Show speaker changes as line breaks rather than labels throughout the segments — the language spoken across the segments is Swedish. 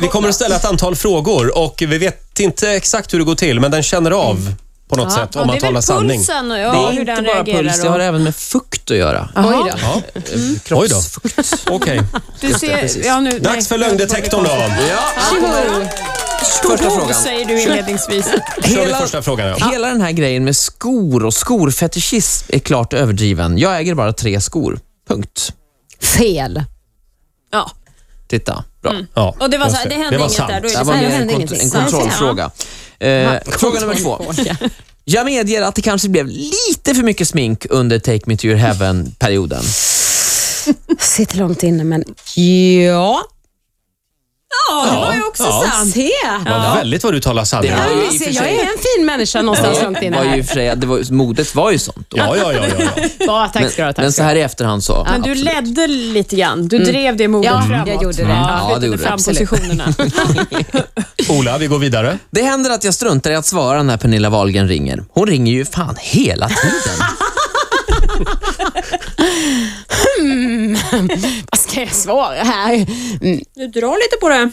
Vi kommer att ställa ett antal frågor och vi vet inte exakt hur det går till, men den känner av på något sätt om man talar sanning.
Mm. Det är väl pulsen och
Det
ja,
är
hur
inte
den
bara
reagerar. Mm.
puls, det har även med fukt att göra. Eh,
Aha.
Oj då.
Ja. Oj då.
Kroppsfukt.
Okej.
Du ser,
precis.
ja, nu,
Dags för lögndetektorn då.
Tjoho!
Första
Frågan.
frågan.
säger du inledningsvis.
Kör vi
Hela-
första frågan. Ja.
Hela den här grejen med skor och skorfetischism är klart överdriven. Jag äger bara tre skor. Punkt.
Fel.
Ja.
Titta. Bra.
Ja,
Och det var så
just
här, det hände
var
inget
sant.
där. Då är
Det
Mm. det
här
så
var
Nej,
mer
det
en,
hände
kont-
ingenting.
en kontrollfråga. Eh, fråga nummer två. Jag medger att det kanske blev lite för mycket smink under Take Me To Your Heaven-perioden.
Sitter långt inne, men ja.
Ja, det var ju också
Ja.
sant.
Se!
Vad väldigt vad du talar sanning.
Det var-
Ja,
Ja,
ni
i och
ser,
för
jag
sig.
är en fin människa någonstans långt
Det
inne
var ju
här.
för sig, det var, modet var ju sånt då.
Ja, ja, ja. ja, ja.
Ja, tack
Men,
ska du ha. Tack
men
ska
så
du ha.
här i efterhand så.
men du
absolut.
ledde lite grann. Du drev det modet
Ja,
framåt.
jag gjorde det.
Ja,
Ja, det
flyttade
gjorde
fram
det.
positionerna.
Ola, vi går vidare.
Det händer att jag struntar i att svara när Pernilla Wahlgren ringer. Hon ringer ju fan hela tiden.
Vad ska jag svara här? Mm,
Du drar lite på det.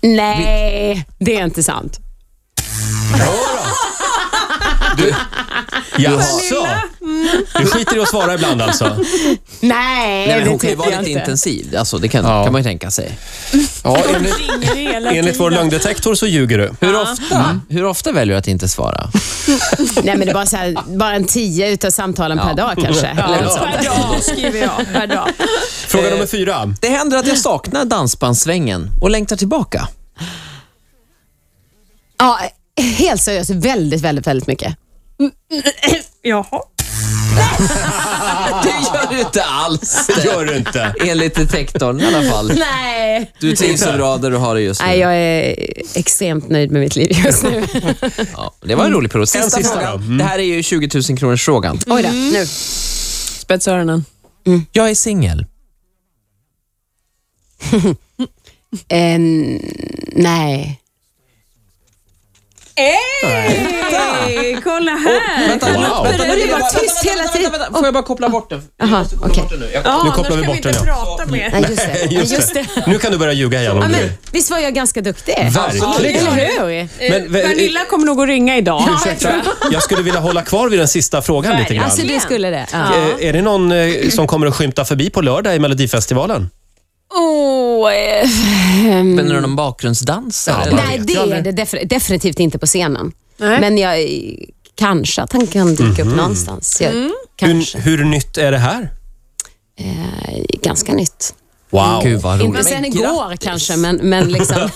Nej, det är inte sant.
Jaså? Du skiter i att svara ibland alltså?
Nej,
Nej, men
det
hon kan ju
tycker
vara
jag
lite
inte.
intensiv. Alltså, det kan,
Ja.
kan man ju tänka sig.
Ja,
Du
enligt,
ringer hela
enligt vår
tiden.
lögndetektor så ljuger du.
Hur ofta, Mm. hur ofta väljer du att inte svara?
Nej, men det var så här, bara en tio utav samtalen per dag kanske.
Ja,
Eller något sånt.
per dag skriver jag. Per dag. Eh.
Fråga nummer fyra.
Det händer att jag saknar dansbandssvängen och längtar tillbaka.
Ja, helt seriöst, väldigt, väldigt, väldigt mycket.
Jaha.
Ah.
Det gör du inte alls.
Det gör du
Eh.
inte.
Enligt detektorn i alla fall.
Nej.
Du trivs så bra där du har det just nu.
Nej, jag är extremt nöjd med mitt liv just nu.
Ja, det var en rolig period. Sista,
En sista
frågan.
då. Mm.
Det här är ju 20 000 kronors frågan.
Oj då, nu.
Spetsa öronen.
Jag är singel.
Eh, nej.
Hej! Kolla här.
Vänta,
Wow.
vänta,
Vänta,
det var
vänta,
tyst
vänta,
hela
vänta,
tiden.
vänta, vänta. Får jag bara koppla bort den? Jag
Jaha,
måste koppla
Ah, okej.
bort den nu. Jag-
Ja,
Nu kopplar
annars
vi
kan
bort den,
inte
ja.
prata mer.
Nej, just det. Nej, just det.
Nu kan du börja ljuga igen
Ja,
om du
men,
vill.
visst var jag ganska duktig?
Verkligen.
Eller hur?
Men-
Eh, Pernilla kommer nog att ringa idag.
Ursäkta, jag skulle vilja hålla kvar vid den sista frågan lite grann.
Alltså du skulle det? Ja.
Eh, Är det någon eh, som kommer att skymta förbi på lördag i Melodifestivalen?
Åh, eh,
Spelar du någon bakgrundsdans?
Mm. Ja,
eller?
bara-
nej,
vet
det
jag
är
inte.
det defin- definitivt inte på scenen.
Nej.
Men jag eh, kanske att han kan dyka upp någonstans. Jag, Kanske.
Hur, hur nytt är det här?
Eh, ganska nytt.
Wow.
Gud vad roligt.
Inte sen
Men
igår
grattis.
kanske, men, men liksom.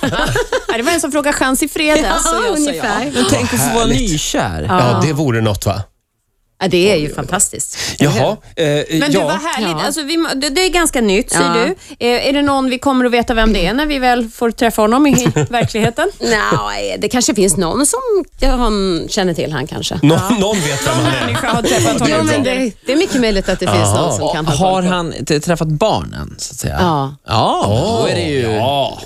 Ja, Det var en som frågade chans i fredags och jag sa ja.
Men tänk att få vara nykär.
Ja, det vore något va?
Ja, det är ju fantastiskt.
Jaha. Eh,
Men du, vad
ja.
härligt.
Ja.
Alltså, vi, må- det, det är ganska nytt, säger
Ja.
du. Eh, är det någon vi kommer att veta vem det är när vi väl får träffa honom i verkligheten?
Nej, det kanske finns någon som jag han känner till han kanske.
Nå, Någon vet vem han är.
Människa har träffat
Jo,
honom.
men det, det är mycket möjligt att det finns
Jaha.
någon som kan ha
Har
koll på.
han t- träffat barnen, så att säga?
Ja.
Ja, då är det ju
Ja.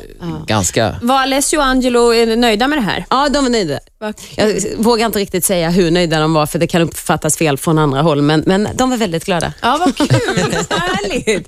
ganska...
Var Alessio och Angelo är nöjda med det här?
Ja, de är nöjda.
Vad
Jag vågar inte riktigt säga hur nöjda de var för det kan uppfattas fel från andra håll, men, men de var väldigt glada.
Ja, vad kul. Härligt.